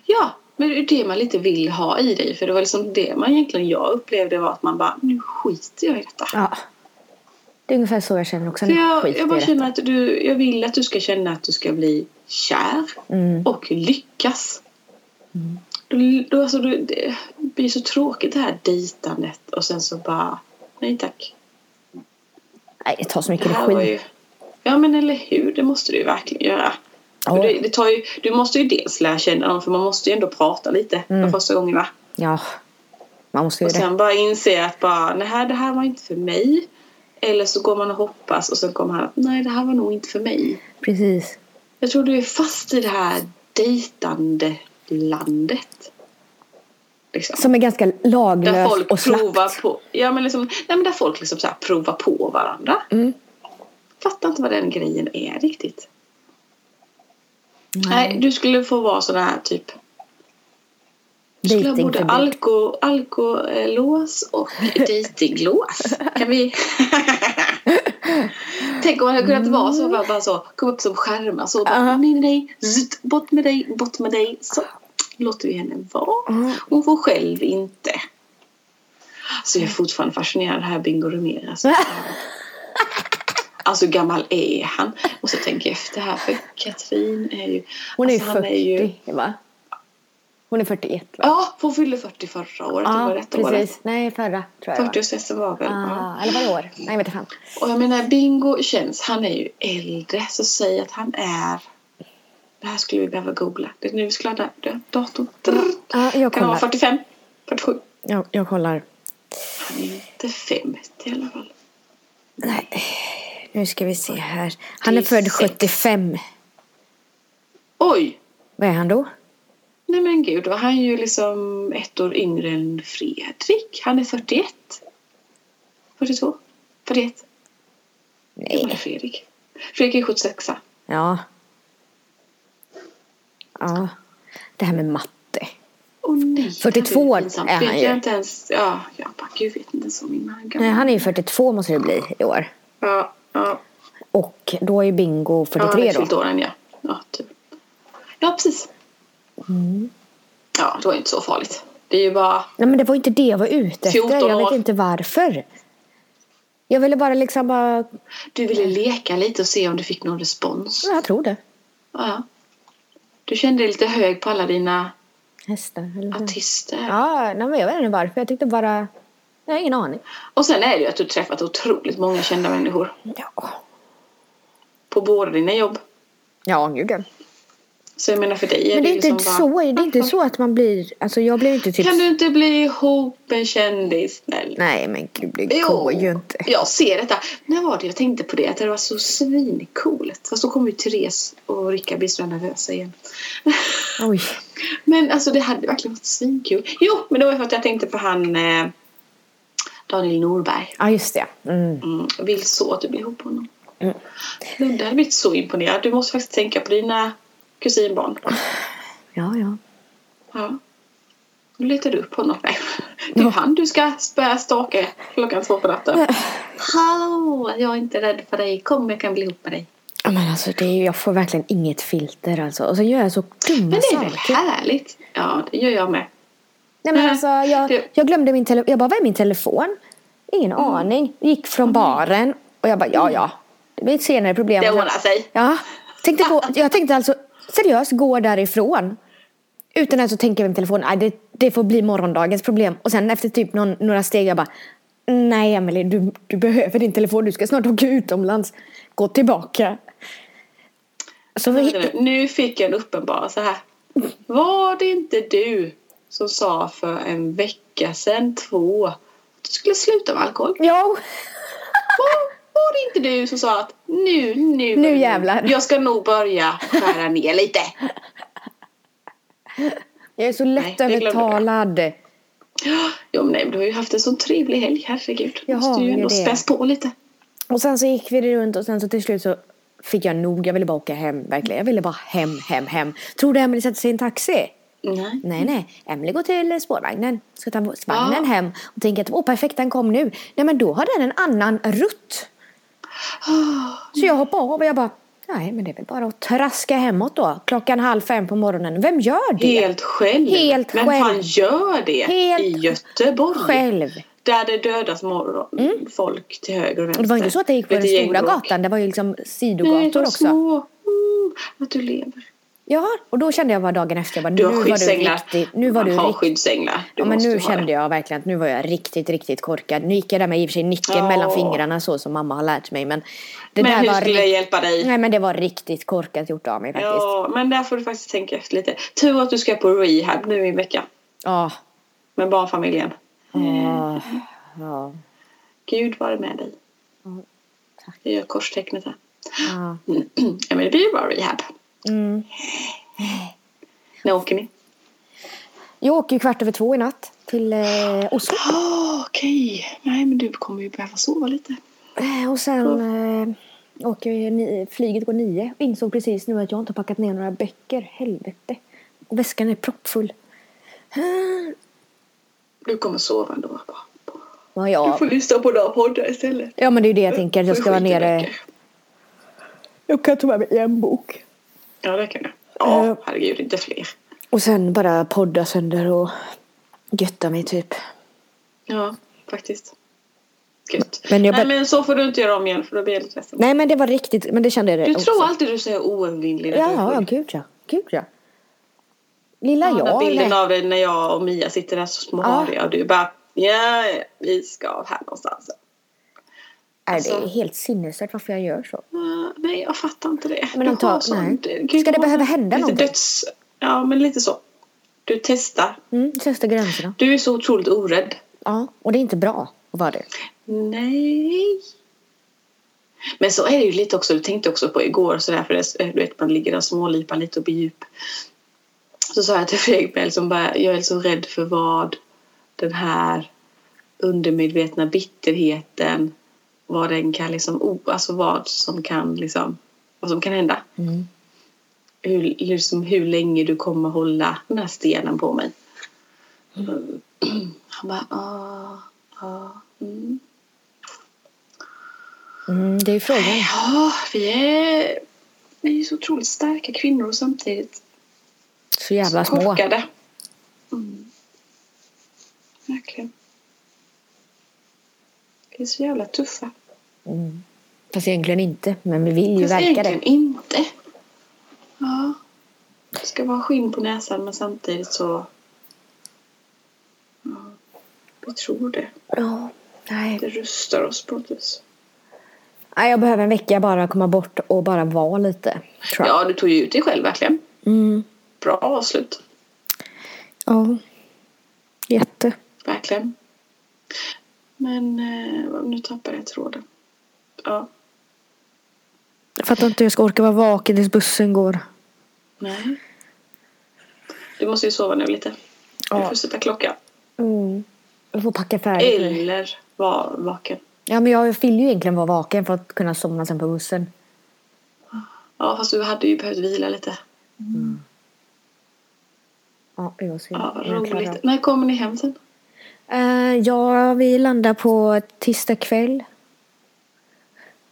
[SPEAKER 1] Ja, men det är det man lite vill ha i dig. För det var liksom det man egentligen jag upplevde var att man bara nu skiter jag i detta.
[SPEAKER 2] Ja. Det är ungefär så jag känner också.
[SPEAKER 1] För
[SPEAKER 2] Nej,
[SPEAKER 1] jag,
[SPEAKER 2] skit
[SPEAKER 1] jag
[SPEAKER 2] i
[SPEAKER 1] bara
[SPEAKER 2] det.
[SPEAKER 1] känner att du, jag vill att du ska känna att du ska bli kär
[SPEAKER 2] Mm.
[SPEAKER 1] och lyckas. Då- Då, alltså, det- det blir så tråkigt det här dejtandet och sen så bara, nej tack.
[SPEAKER 2] Nej, det tar så
[SPEAKER 1] Det
[SPEAKER 2] mycket
[SPEAKER 1] här var
[SPEAKER 2] energi.
[SPEAKER 1] ju... Ja men eller hur, det måste du ju verkligen göra.
[SPEAKER 2] Ja.
[SPEAKER 1] Och Det, det tar ju, du måste ju dels lära känna dem för man måste ju ändå prata lite de första gångerna.
[SPEAKER 2] Ja, man måste ju
[SPEAKER 1] Och
[SPEAKER 2] Mm. det.
[SPEAKER 1] sen bara inse att bara, nej det här var inte för mig. Eller så går man och hoppas och sen kommer han att nej det här var nog inte för mig.
[SPEAKER 2] Precis.
[SPEAKER 1] Jag tror du är fast i det här dejtande landet. Liksom.
[SPEAKER 2] Som är ganska
[SPEAKER 1] Där
[SPEAKER 2] laglöst och
[SPEAKER 1] folk provar
[SPEAKER 2] slappt.
[SPEAKER 1] på, ja, men liksom, nej, men där folk liksom så här provar på varandra.
[SPEAKER 2] Mm.
[SPEAKER 1] Fattar inte vad den grejen är riktigt. Nej, du skulle få vara sån här typ. Du skulle ha både
[SPEAKER 2] Dejtingförbud.
[SPEAKER 1] alko, alkolås och dejtinglås. Kan vi... Tänk om man hade kunnat vara så, bara, bara så, kom upp som skärmar så, bara,
[SPEAKER 2] Aha.
[SPEAKER 1] nej, nej, nej, zzt, bort med dig, bort med dig, så låter vi henne vara.
[SPEAKER 2] Ja.
[SPEAKER 1] Hon får själv inte. Så jag är fortfarande fascinerad av det här Bingo Rimér. Alltså, alltså hur gammal är han? Och så tänker jag efter här för Katrin är ju...
[SPEAKER 2] Hon är ju
[SPEAKER 1] alltså, han
[SPEAKER 2] 40, va? Hon är 41, va?
[SPEAKER 1] ja, hon fyllde 40 förra året. det var detta året.
[SPEAKER 2] precis. Nej, förra tror jag det var.
[SPEAKER 1] 40-årsfesten var väl... Ja.
[SPEAKER 2] Ah, eller var det år? Nej, jag vet inte fan.
[SPEAKER 1] Och jag menar Bingo känns, han är ju äldre. Så säg att han är... Det här skulle vi behöva googla. Det är nu vi skulle ha där- datorn.
[SPEAKER 2] Ja, jag
[SPEAKER 1] Kan han
[SPEAKER 2] kollar.
[SPEAKER 1] vara 45? 47?
[SPEAKER 2] Jag, jag kollar.
[SPEAKER 1] Han är inte 50 i alla fall.
[SPEAKER 2] Nej. Nu ska vi se här. Han är
[SPEAKER 1] Det är
[SPEAKER 2] född
[SPEAKER 1] sex.
[SPEAKER 2] 75.
[SPEAKER 1] Oj!
[SPEAKER 2] Vad är han då?
[SPEAKER 1] Nej men gud, då är han ju liksom ett år yngre än Fredrik. Han är 41. 42? 41? Var är
[SPEAKER 2] Nej.
[SPEAKER 1] Fredrik? Fredrik är 76.
[SPEAKER 2] Ja. Ja. Det här med matte.
[SPEAKER 1] Åh nej.
[SPEAKER 2] 42
[SPEAKER 1] det pinsamt.
[SPEAKER 2] är han
[SPEAKER 1] Vet
[SPEAKER 2] ju.
[SPEAKER 1] Jag inte ens, ja, jag bara gud vet inte ens om min man är gammal.
[SPEAKER 2] Nej, han är ju 42 måste det bli i år.
[SPEAKER 1] Ja, ja.
[SPEAKER 2] Och då är ju Bingo
[SPEAKER 1] ja, han
[SPEAKER 2] 43
[SPEAKER 1] är
[SPEAKER 2] då.
[SPEAKER 1] fyllt åren ja. Ja, typ. Ja, precis.
[SPEAKER 2] Mm.
[SPEAKER 1] Ja, det var ju inte så farligt. Det är ju bara,
[SPEAKER 2] Nej men det var ju inte det jag var ute efter.
[SPEAKER 1] 14
[SPEAKER 2] Jag vet
[SPEAKER 1] år.
[SPEAKER 2] inte varför. Jag ville bara liksom bara...
[SPEAKER 1] du ville leka lite och se om du fick någon respons.
[SPEAKER 2] Ja, Jag tror det.
[SPEAKER 1] Ja, ja. Du kände dig lite hög på alla dina
[SPEAKER 2] Hästar eller vad?
[SPEAKER 1] artister.
[SPEAKER 2] Ja, nej, men jag vet inte varför. Jag tyckte bara... Jag har ingen aning.
[SPEAKER 1] Och sen är det ju att du träffat otroligt många kända människor
[SPEAKER 2] Ja.
[SPEAKER 1] på båda dina jobb.
[SPEAKER 2] Ja, gud ja.
[SPEAKER 1] Så jag menar för dig är
[SPEAKER 2] Men det är
[SPEAKER 1] ju
[SPEAKER 2] inte
[SPEAKER 1] som
[SPEAKER 2] så,
[SPEAKER 1] bara, "Ah,
[SPEAKER 2] det är inte så att man blir... Alltså jag blir inte typ...
[SPEAKER 1] Kan du inte bli ihop en kändis snäll?
[SPEAKER 2] Nej men gud, det går ju inte.
[SPEAKER 1] jag ser detta. När var det jag tänkte på det? Att det var så svincoolt. Fast då kommer ju Therese och Rickard bli så nervösa igen.
[SPEAKER 2] Oj.
[SPEAKER 1] Men alltså det hade verkligen varit svinkul. Jo, men det var för att jag tänkte på han eh, Daniel Norberg.
[SPEAKER 2] Ja just det. Mm.
[SPEAKER 1] Mm, jag vill så att du blir ihop med honom.
[SPEAKER 2] Mm.
[SPEAKER 1] Ludde hade blivit så imponerad. Du måste faktiskt tänka på dina kusinbarn.
[SPEAKER 2] Ja ja.
[SPEAKER 1] Ja. Nu letar du upp honom. Nej. Det är han du ska spä stake klockan två på natten. Hallå, jag är inte rädd för dig. Kom, jag kan bli ihop med dig.
[SPEAKER 2] Ja, Men alltså det är, ju- jag får verkligen inget filter alltså. Och så gör jag så dumma
[SPEAKER 1] Men det är väl
[SPEAKER 2] saker.
[SPEAKER 1] härligt? Ja, det gör jag med.
[SPEAKER 2] Nej
[SPEAKER 1] Eh,
[SPEAKER 2] men alltså jag,
[SPEAKER 1] Det-
[SPEAKER 2] jag glömde min telefon. Jag bara, var är min telefon? Ingen
[SPEAKER 1] Mm.
[SPEAKER 2] aning. Gick från baren och jag bara, ja ja. Det blir ett senare problem.
[SPEAKER 1] Det ordnar sig.
[SPEAKER 2] Ja. Tänkte gå, jag tänkte alltså seriöst gå därifrån. Utan att så tänka med telefonen, nej det, det får bli morgondagens problem. Och sen efter typ någon, några steg jag bara, nej Emelie du, du behöver din telefon, du ska snart åka utomlands. Gå tillbaka. Så
[SPEAKER 1] Vänta nu. Nu fick jag en uppenbarelse här. Var det inte du som sa för en vecka sedan, två, att du skulle sluta med alkohol?
[SPEAKER 2] ja,
[SPEAKER 1] Var, var det inte du som sa att nu, nu,
[SPEAKER 2] Nu jävlar.
[SPEAKER 1] Jag ska nog börja skära ner lite.
[SPEAKER 2] jag är så
[SPEAKER 1] Nej, det glömde du.
[SPEAKER 2] lättövertalad.
[SPEAKER 1] Ja, men nej, men du har ju haft en sån trevlig helg, herregud. Du
[SPEAKER 2] Jag
[SPEAKER 1] måste
[SPEAKER 2] har
[SPEAKER 1] ju
[SPEAKER 2] ju
[SPEAKER 1] ändå
[SPEAKER 2] det.
[SPEAKER 1] späs på lite.
[SPEAKER 2] Och sen så gick vi runt och sen så till slut så fick jag nog. Jag ville bara åka hem, verkligen. Jag ville bara hem, hem, hem. Tror du Emelie satte sig i en taxi?
[SPEAKER 1] Nej.
[SPEAKER 2] Nej, nej. Emelie går till spårvagnen. Ska ta spårvagnen
[SPEAKER 1] Ja.
[SPEAKER 2] hem och tänker att åh perfekt, den kom nu. Nej, men då har den en annan rutt. Så jag hoppar av och jag bara, nej men det är väl bara att traska hemåt då. Klockan halv fem på morgonen. Vem gör det?
[SPEAKER 1] Helt själv.
[SPEAKER 2] Helt
[SPEAKER 1] men
[SPEAKER 2] själv.
[SPEAKER 1] fan gör det
[SPEAKER 2] Helt
[SPEAKER 1] i Göteborg?
[SPEAKER 2] Själv.
[SPEAKER 1] Där det dödas mor- folk till höger och vänster.
[SPEAKER 2] Och det var ju inte så att det gick på den
[SPEAKER 1] Lite
[SPEAKER 2] stora
[SPEAKER 1] gängbråk.
[SPEAKER 2] gatan. Det var ju liksom
[SPEAKER 1] Nej,
[SPEAKER 2] sidogator
[SPEAKER 1] de
[SPEAKER 2] också.
[SPEAKER 1] små. Mm, att du lever.
[SPEAKER 2] Ja, och då kände jag bara dagen efter. Jag bara,
[SPEAKER 1] Du
[SPEAKER 2] nu
[SPEAKER 1] har
[SPEAKER 2] var du
[SPEAKER 1] skyddsänglar.
[SPEAKER 2] riktigt... Nu var
[SPEAKER 1] Man
[SPEAKER 2] du
[SPEAKER 1] har
[SPEAKER 2] riktigt...
[SPEAKER 1] skyddsänglar. Du
[SPEAKER 2] Ja, men
[SPEAKER 1] måste
[SPEAKER 2] nu
[SPEAKER 1] ha det.
[SPEAKER 2] kände jag verkligen att nu var jag riktigt, riktigt korkad. Nu gick jag där med i och för sig nyckeln
[SPEAKER 1] Ja.
[SPEAKER 2] mellan fingrarna så som mamma har lärt mig. Men det
[SPEAKER 1] Men
[SPEAKER 2] där
[SPEAKER 1] hur
[SPEAKER 2] var
[SPEAKER 1] skulle
[SPEAKER 2] ri-
[SPEAKER 1] jag hjälpa dig?
[SPEAKER 2] Nej, men det var riktigt korkat gjort av mig faktiskt. Ja.
[SPEAKER 1] Ja, men där får du faktiskt tänka efter lite. Tur att du ska på rehab nu i veckan
[SPEAKER 2] Ja.
[SPEAKER 1] med barnfamiljen.
[SPEAKER 2] Ja. Ja.
[SPEAKER 1] Gud vare med dig.
[SPEAKER 2] Ja, tack.
[SPEAKER 1] Jag gör korstecknet här. ja, men det blir ju bra rehab.
[SPEAKER 2] Mm.
[SPEAKER 1] När åker ni?
[SPEAKER 2] Jag åker ju kvart över två i natt till eh, Oslo.
[SPEAKER 1] Oh, Okej. Nej, men du kommer ju behöva sova lite.
[SPEAKER 2] Eh, Och sen eh, åker vi, ni, flyget går nio. Och insåg precis nu att jag inte har packat ner några böcker. Helvete. Och väskan är proppfull. Ah.
[SPEAKER 1] Du kommer sova ändå. Bara.
[SPEAKER 2] Ja,
[SPEAKER 1] Du
[SPEAKER 2] ja.
[SPEAKER 1] får lyssna på några poddar istället.
[SPEAKER 2] ja, men det är ju det jag tänker. Jag ska vara
[SPEAKER 1] Skit i
[SPEAKER 2] nere.
[SPEAKER 1] böcker.
[SPEAKER 2] Jag kan ta med mig en bok.
[SPEAKER 1] Ja, det kan du. Ja,
[SPEAKER 2] Eh.
[SPEAKER 1] herregud, inte fler.
[SPEAKER 2] Och sen bara podda sönder och götta mig typ.
[SPEAKER 1] Ja, faktiskt. Gött.
[SPEAKER 2] Men jag
[SPEAKER 1] Nej,
[SPEAKER 2] bara-
[SPEAKER 1] men så får du inte göra om igen för då blir jag lite ledsen.
[SPEAKER 2] Nej, men det var riktigt. Men det kände jag det
[SPEAKER 1] Du
[SPEAKER 2] också.
[SPEAKER 1] tror alltid du säger oövervinnlig när du är
[SPEAKER 2] Ja, ja,
[SPEAKER 1] full.
[SPEAKER 2] gud ja. Gud ja. Lilla
[SPEAKER 1] Ja, den
[SPEAKER 2] jag.
[SPEAKER 1] bilden
[SPEAKER 2] nej.
[SPEAKER 1] av dig när jag och Mia sitter där så små
[SPEAKER 2] Ja.
[SPEAKER 1] hariga och du bara ja, ja, vi ska här någonstans.
[SPEAKER 2] Nej, det är
[SPEAKER 1] alltså.
[SPEAKER 2] helt sinnesstört varför jag gör så.
[SPEAKER 1] Eh, nej, jag fattar inte det.
[SPEAKER 2] Men de
[SPEAKER 1] Du har
[SPEAKER 2] tar-
[SPEAKER 1] sån-
[SPEAKER 2] nej.
[SPEAKER 1] kan ju
[SPEAKER 2] Ska det
[SPEAKER 1] vara
[SPEAKER 2] behöva
[SPEAKER 1] så-
[SPEAKER 2] hända
[SPEAKER 1] lite
[SPEAKER 2] någonting?
[SPEAKER 1] Döds, ja, men lite så. Du testar.
[SPEAKER 2] Mm, sätta gränserna.
[SPEAKER 1] Du är så otroligt orädd.
[SPEAKER 2] Ja, och det är inte bra att vara det.
[SPEAKER 1] Nej. Men så är det ju lite också, du tänkte också på igår sådär för det, eh, du vet man ligger där och smålipar lite och blir djup. Så sa jag till Fredrik Bell som bara, jag är så rädd för vad den här undermedvetna bitterheten, vad den kan liksom, o- alltså vad som kan liksom, vad som kan hända.
[SPEAKER 2] Mm.
[SPEAKER 1] Hur, liksom, hur länge du kommer hålla den här stenen på mig. Han bara, ah, ah, mm.
[SPEAKER 2] Mm, det är ju frågan.
[SPEAKER 1] Ja, vi är, vi är så otroligt starka kvinnor och samtidigt
[SPEAKER 2] Så jävla
[SPEAKER 1] så
[SPEAKER 2] små.
[SPEAKER 1] korkade. Mm. Verkligen. Vi är så jävla tuffa.
[SPEAKER 2] Mm. Fast egentligen inte. Men vi vill ju
[SPEAKER 1] Fast
[SPEAKER 2] verka
[SPEAKER 1] egentligen
[SPEAKER 2] det.
[SPEAKER 1] inte. Ja. Det ska vara skinn på näsan men samtidigt så... Ja. Vi tror det.
[SPEAKER 2] Ja. Nej.
[SPEAKER 1] Det rustar oss på något vis.
[SPEAKER 2] Nej, jag behöver en vecka bara komma bort och bara vara lite. Tror jag.
[SPEAKER 1] Ja, du tog ju ut dig själv verkligen.
[SPEAKER 2] Mm.
[SPEAKER 1] Bra avslut.
[SPEAKER 2] Ja. Jätte.
[SPEAKER 1] Verkligen. Men eh, nu tappade jag tråden. Ja,
[SPEAKER 2] Jag fattar inte hur jag ska orka vara vaken tills bussen går.
[SPEAKER 1] nej. Du måste ju sova nu lite. Du
[SPEAKER 2] Ja.
[SPEAKER 1] får sätta klockan.
[SPEAKER 2] Mm. Jag får packa färdigt nu.
[SPEAKER 1] Eller vara vaken.
[SPEAKER 2] Ja, men jag vill ju egentligen vara vaken för att kunna somna sen på bussen.
[SPEAKER 1] Ja, fast du hade ju behövt vila lite.
[SPEAKER 2] Ja, det var synd.
[SPEAKER 1] Ja, vad
[SPEAKER 2] Men Mm, jag klarar av.
[SPEAKER 1] roligt. När kommer ni hem sen?
[SPEAKER 2] Eh, ja, vi landar på tisdag kväll.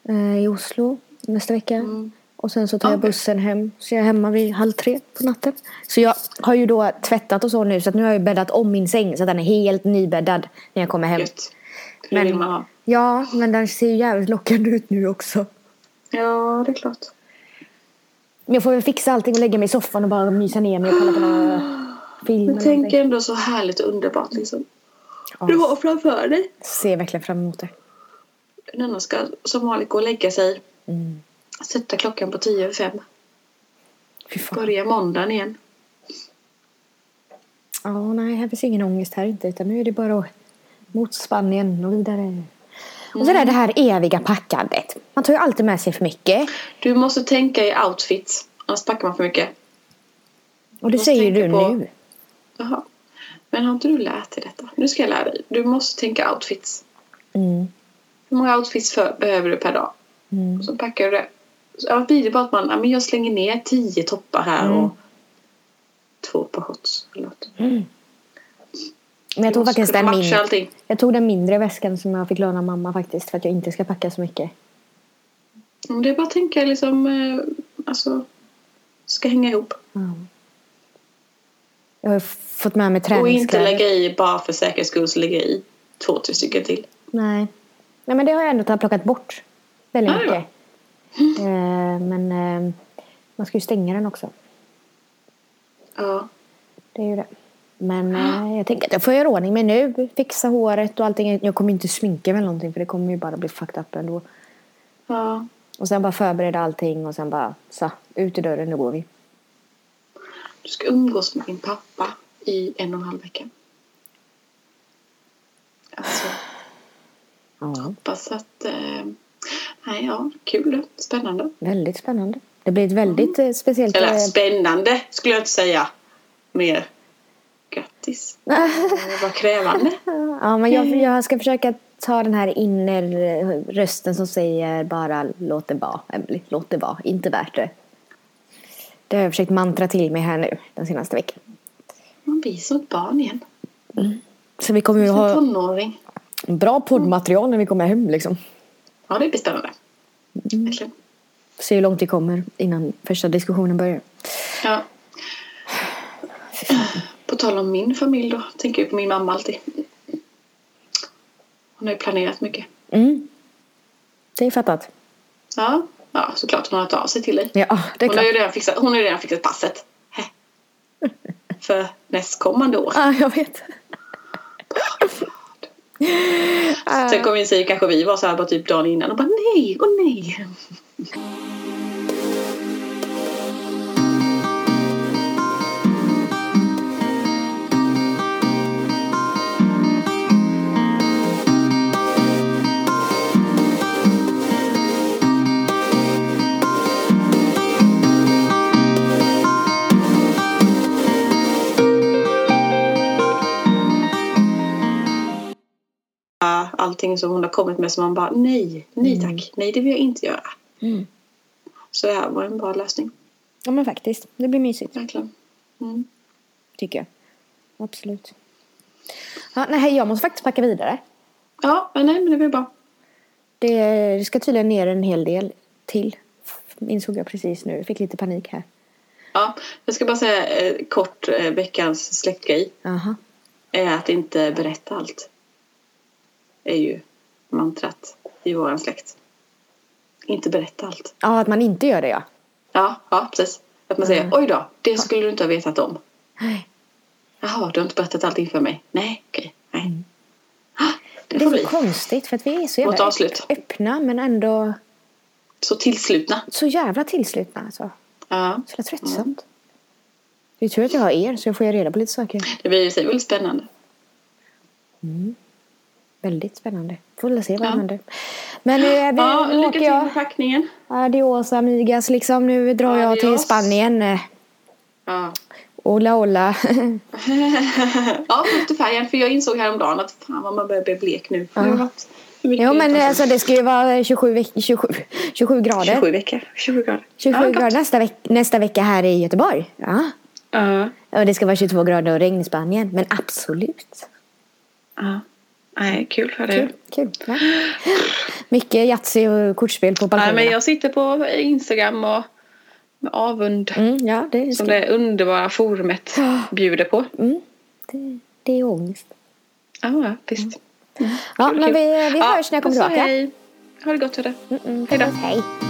[SPEAKER 2] eh, I Oslo nästa vecka.
[SPEAKER 1] Mm.
[SPEAKER 2] Och sen så tar jag
[SPEAKER 1] Okej.
[SPEAKER 2] bussen hem. Så jag är hemma vid halv tre på natten. Så jag har ju då tvättat och så nu. Så att nu har jag ju bäddat om min säng. Så att den är helt nybäddad när jag kommer hem.
[SPEAKER 1] Gött. Hur vill man ha?
[SPEAKER 2] ja, men den ser ju jävligt lockande ut nu också.
[SPEAKER 1] Ja, det är klart.
[SPEAKER 2] Men jag får väl fixa allting och lägga mig i soffan och bara mysa ner mig och kolla på några film.
[SPEAKER 1] Men
[SPEAKER 2] eller
[SPEAKER 1] tänk
[SPEAKER 2] någonting.
[SPEAKER 1] ändå så härligt och underbart liksom.
[SPEAKER 2] Ja,
[SPEAKER 1] Du har framför dig.
[SPEAKER 2] Ser verkligen fram emot det.
[SPEAKER 1] En annan ska som vanligt gå och lägga sig.
[SPEAKER 2] Mm.
[SPEAKER 1] Sätta klockan på tio över fem.
[SPEAKER 2] Fy fan.
[SPEAKER 1] Börja måndagen igen.
[SPEAKER 2] Ja, nej, här finns ingen ångest här inte. Utan nu är det bara att- mot Spanien och vidare. Och så där det här eviga packandet. Man tar ju alltid med sig för mycket.
[SPEAKER 1] Du måste tänka i outfits. Annars packar man för mycket.
[SPEAKER 2] Och det
[SPEAKER 1] Jag
[SPEAKER 2] säger ju
[SPEAKER 1] tänker
[SPEAKER 2] du
[SPEAKER 1] på-
[SPEAKER 2] nu.
[SPEAKER 1] Jaha. Men har inte du lärt dig detta? Nu ska jag lära dig. Du måste tänka outfits.
[SPEAKER 2] Mm.
[SPEAKER 1] Hur många outfits för, behöver du per dag?
[SPEAKER 2] Mm.
[SPEAKER 1] Och så packar du det. Så, Ja, blir det bara att man ja, men jag slänger ner tio toppar här
[SPEAKER 2] Mm.
[SPEAKER 1] och två par shorts. eller något.
[SPEAKER 2] Men jag
[SPEAKER 1] Du
[SPEAKER 2] tog
[SPEAKER 1] måste
[SPEAKER 2] faktiskt
[SPEAKER 1] kunna
[SPEAKER 2] den
[SPEAKER 1] matcha
[SPEAKER 2] mindre.
[SPEAKER 1] allting.
[SPEAKER 2] Jag tog den mindre väskan som jag fick låna mamma faktiskt. För att jag inte ska packa så mycket.
[SPEAKER 1] Men det är bara att tänka liksom, eh, alltså, ska hänga ihop.
[SPEAKER 2] Mm. Jag har ju f- fått med mig
[SPEAKER 1] Och inte
[SPEAKER 2] träningskläder.
[SPEAKER 1] lägga i bara för säkerhets skull så lägga i. två, tre stycken till.
[SPEAKER 2] Nej. Nej, men det har jag ändå plockat bort. Väldigt
[SPEAKER 1] Ja, ja.
[SPEAKER 2] mycket. Eh, men eh, man ska ju stänga den också.
[SPEAKER 1] Ja.
[SPEAKER 2] Det är ju det. Men
[SPEAKER 1] Ah.
[SPEAKER 2] eh, jag tänker att jag får göra ordning mig nu. Fixa håret och allting. Jag kommer ju inte sminka mig eller någonting för det kommer ju bara bli fucked up ändå.
[SPEAKER 1] ja.
[SPEAKER 2] Och sen bara förbereda allting och sen bara så, ut i dörren, nu går vi.
[SPEAKER 1] Du ska umgås med din pappa i en och en halv vecka. Alltså,
[SPEAKER 2] Ja.
[SPEAKER 1] hoppas att... Eh, nej, ja, kul. Spännande.
[SPEAKER 2] Väldigt spännande. Det blir ett väldigt
[SPEAKER 1] Mm.
[SPEAKER 2] eh, speciellt... eh,
[SPEAKER 1] Eller spännande skulle jag inte säga. Mer grattis. Eh, Vad krävande.
[SPEAKER 2] Ja, men jag, jag ska försöka ta den här innerrösten som säger bara låt det vara, Emily. Låt det vara, inte värt det. Det har jag försökt mantra till mig här nu den senaste veckan.
[SPEAKER 1] Man blir som ett barn igen.
[SPEAKER 2] Så vi kommer ju
[SPEAKER 1] Som
[SPEAKER 2] ha
[SPEAKER 1] tonåring.
[SPEAKER 2] bra poddmaterial när vi kommer hem liksom.
[SPEAKER 1] Ja, det blir spännande. Verkligen.
[SPEAKER 2] Se hur långt vi kommer innan första diskussionen börjar.
[SPEAKER 1] Ja. På tal om min familj då, tänker jag på min mamma alltid. Hon har ju planerat mycket.
[SPEAKER 2] Mm. Det är fattat.
[SPEAKER 1] Ja, ja såklart hon har hört av sig till dig.
[SPEAKER 2] Ja, ah, det är
[SPEAKER 1] Hon har ju
[SPEAKER 2] klart.
[SPEAKER 1] redan fixat, hon har ju redan fixat passet. Hä? För nästkommande år.
[SPEAKER 2] Ja, Ah, jag vet.
[SPEAKER 1] Sen kom vi säga kanske vi var så här bara typ dagen innan och bara nej, och nej. Allting som hon har kommit med som man bara nej, nej tack, nej det vill jag inte göra.
[SPEAKER 2] Mm.
[SPEAKER 1] Så det här var en bra lösning,
[SPEAKER 2] Ja, men faktiskt. Det blir mysigt.
[SPEAKER 1] verkligen. Mm.
[SPEAKER 2] Tycker jag. Absolut. Ja, nej, jag måste faktiskt packa vidare.
[SPEAKER 1] Ja, men nej men det blir bra.
[SPEAKER 2] Det, det ska tydligen ner en hel del till. Insåg jag precis nu. Fick lite panik här.
[SPEAKER 1] Ja, jag ska bara säga eh, kort eh, veckans släktgrej
[SPEAKER 2] Aha.
[SPEAKER 1] är att inte berätta allt. är ju mantrat i våran släkt. Inte berätta allt.
[SPEAKER 2] Ja, att man inte gör det ja.
[SPEAKER 1] Ja, ja precis. Att man säger
[SPEAKER 2] Mm.
[SPEAKER 1] oj då, det skulle du inte ha vetat om.
[SPEAKER 2] Nej.
[SPEAKER 1] Jaha, du har inte berättat allting för mig. Nej, okej. Nej.
[SPEAKER 2] Mm.
[SPEAKER 1] Ah, Det
[SPEAKER 2] Det
[SPEAKER 1] får
[SPEAKER 2] är så
[SPEAKER 1] bli.
[SPEAKER 2] konstigt för att vi är så
[SPEAKER 1] Mot
[SPEAKER 2] jävla
[SPEAKER 1] avslut.
[SPEAKER 2] öppna men ändå
[SPEAKER 1] Så tillslutna.
[SPEAKER 2] så jävla tillslutna. Alltså.
[SPEAKER 1] Ja,
[SPEAKER 2] Så jävla
[SPEAKER 1] Mm.
[SPEAKER 2] tröttsamt. Det är tur att jag har er så jag får ju reda på lite saker.
[SPEAKER 1] det blir ju sig väldigt spännande.
[SPEAKER 2] Väldigt spännande. Får väl se vad
[SPEAKER 1] Ja.
[SPEAKER 2] som händer. Men nu, är vi,
[SPEAKER 1] Ja,
[SPEAKER 2] nu
[SPEAKER 1] lycka
[SPEAKER 2] åker
[SPEAKER 1] till med
[SPEAKER 2] jag.
[SPEAKER 1] packningen.
[SPEAKER 2] Adios amigas liksom. Nu drar jag till
[SPEAKER 1] Adios.
[SPEAKER 2] Spanien. Eh,
[SPEAKER 1] Ja.
[SPEAKER 2] Ola ola.
[SPEAKER 1] ja, efter färgen. För jag insåg häromdagen att fan vad man börjar bli blek nu. Nu har det varit hur mycket
[SPEAKER 2] jo men
[SPEAKER 1] utanför?
[SPEAKER 2] alltså det ska ju vara 27, veck- 27, 27 grader.
[SPEAKER 1] 27 veckor. 27 grader.
[SPEAKER 2] 27
[SPEAKER 1] Ja, gott.
[SPEAKER 2] grader nästa, veck nästa vecka här i Göteborg. Ja.
[SPEAKER 1] Ja.
[SPEAKER 2] Och det ska vara 22 grader och regn i Spanien. Men absolut.
[SPEAKER 1] ja. Nej, kul för dig.
[SPEAKER 2] Kul. kul va? Mycket Yatzy och kortspel på
[SPEAKER 1] Nej,
[SPEAKER 2] balkongerna.
[SPEAKER 1] men jag sitter på Instagram och med avund.
[SPEAKER 2] mm, ja, det, är
[SPEAKER 1] Som
[SPEAKER 2] skri-
[SPEAKER 1] det underbara forumet bjuder på.
[SPEAKER 2] Mm. det, det är ångest.
[SPEAKER 1] Ja, visst.
[SPEAKER 2] Ja,
[SPEAKER 1] Kul,
[SPEAKER 2] men
[SPEAKER 1] kul.
[SPEAKER 2] vi, vi
[SPEAKER 1] Ja,
[SPEAKER 2] hörs när jag kommer
[SPEAKER 1] puss och
[SPEAKER 2] tillbaka.
[SPEAKER 1] Hej. Ha det gott hörru.
[SPEAKER 2] Mm, mm.
[SPEAKER 1] Hej då.
[SPEAKER 2] Hej.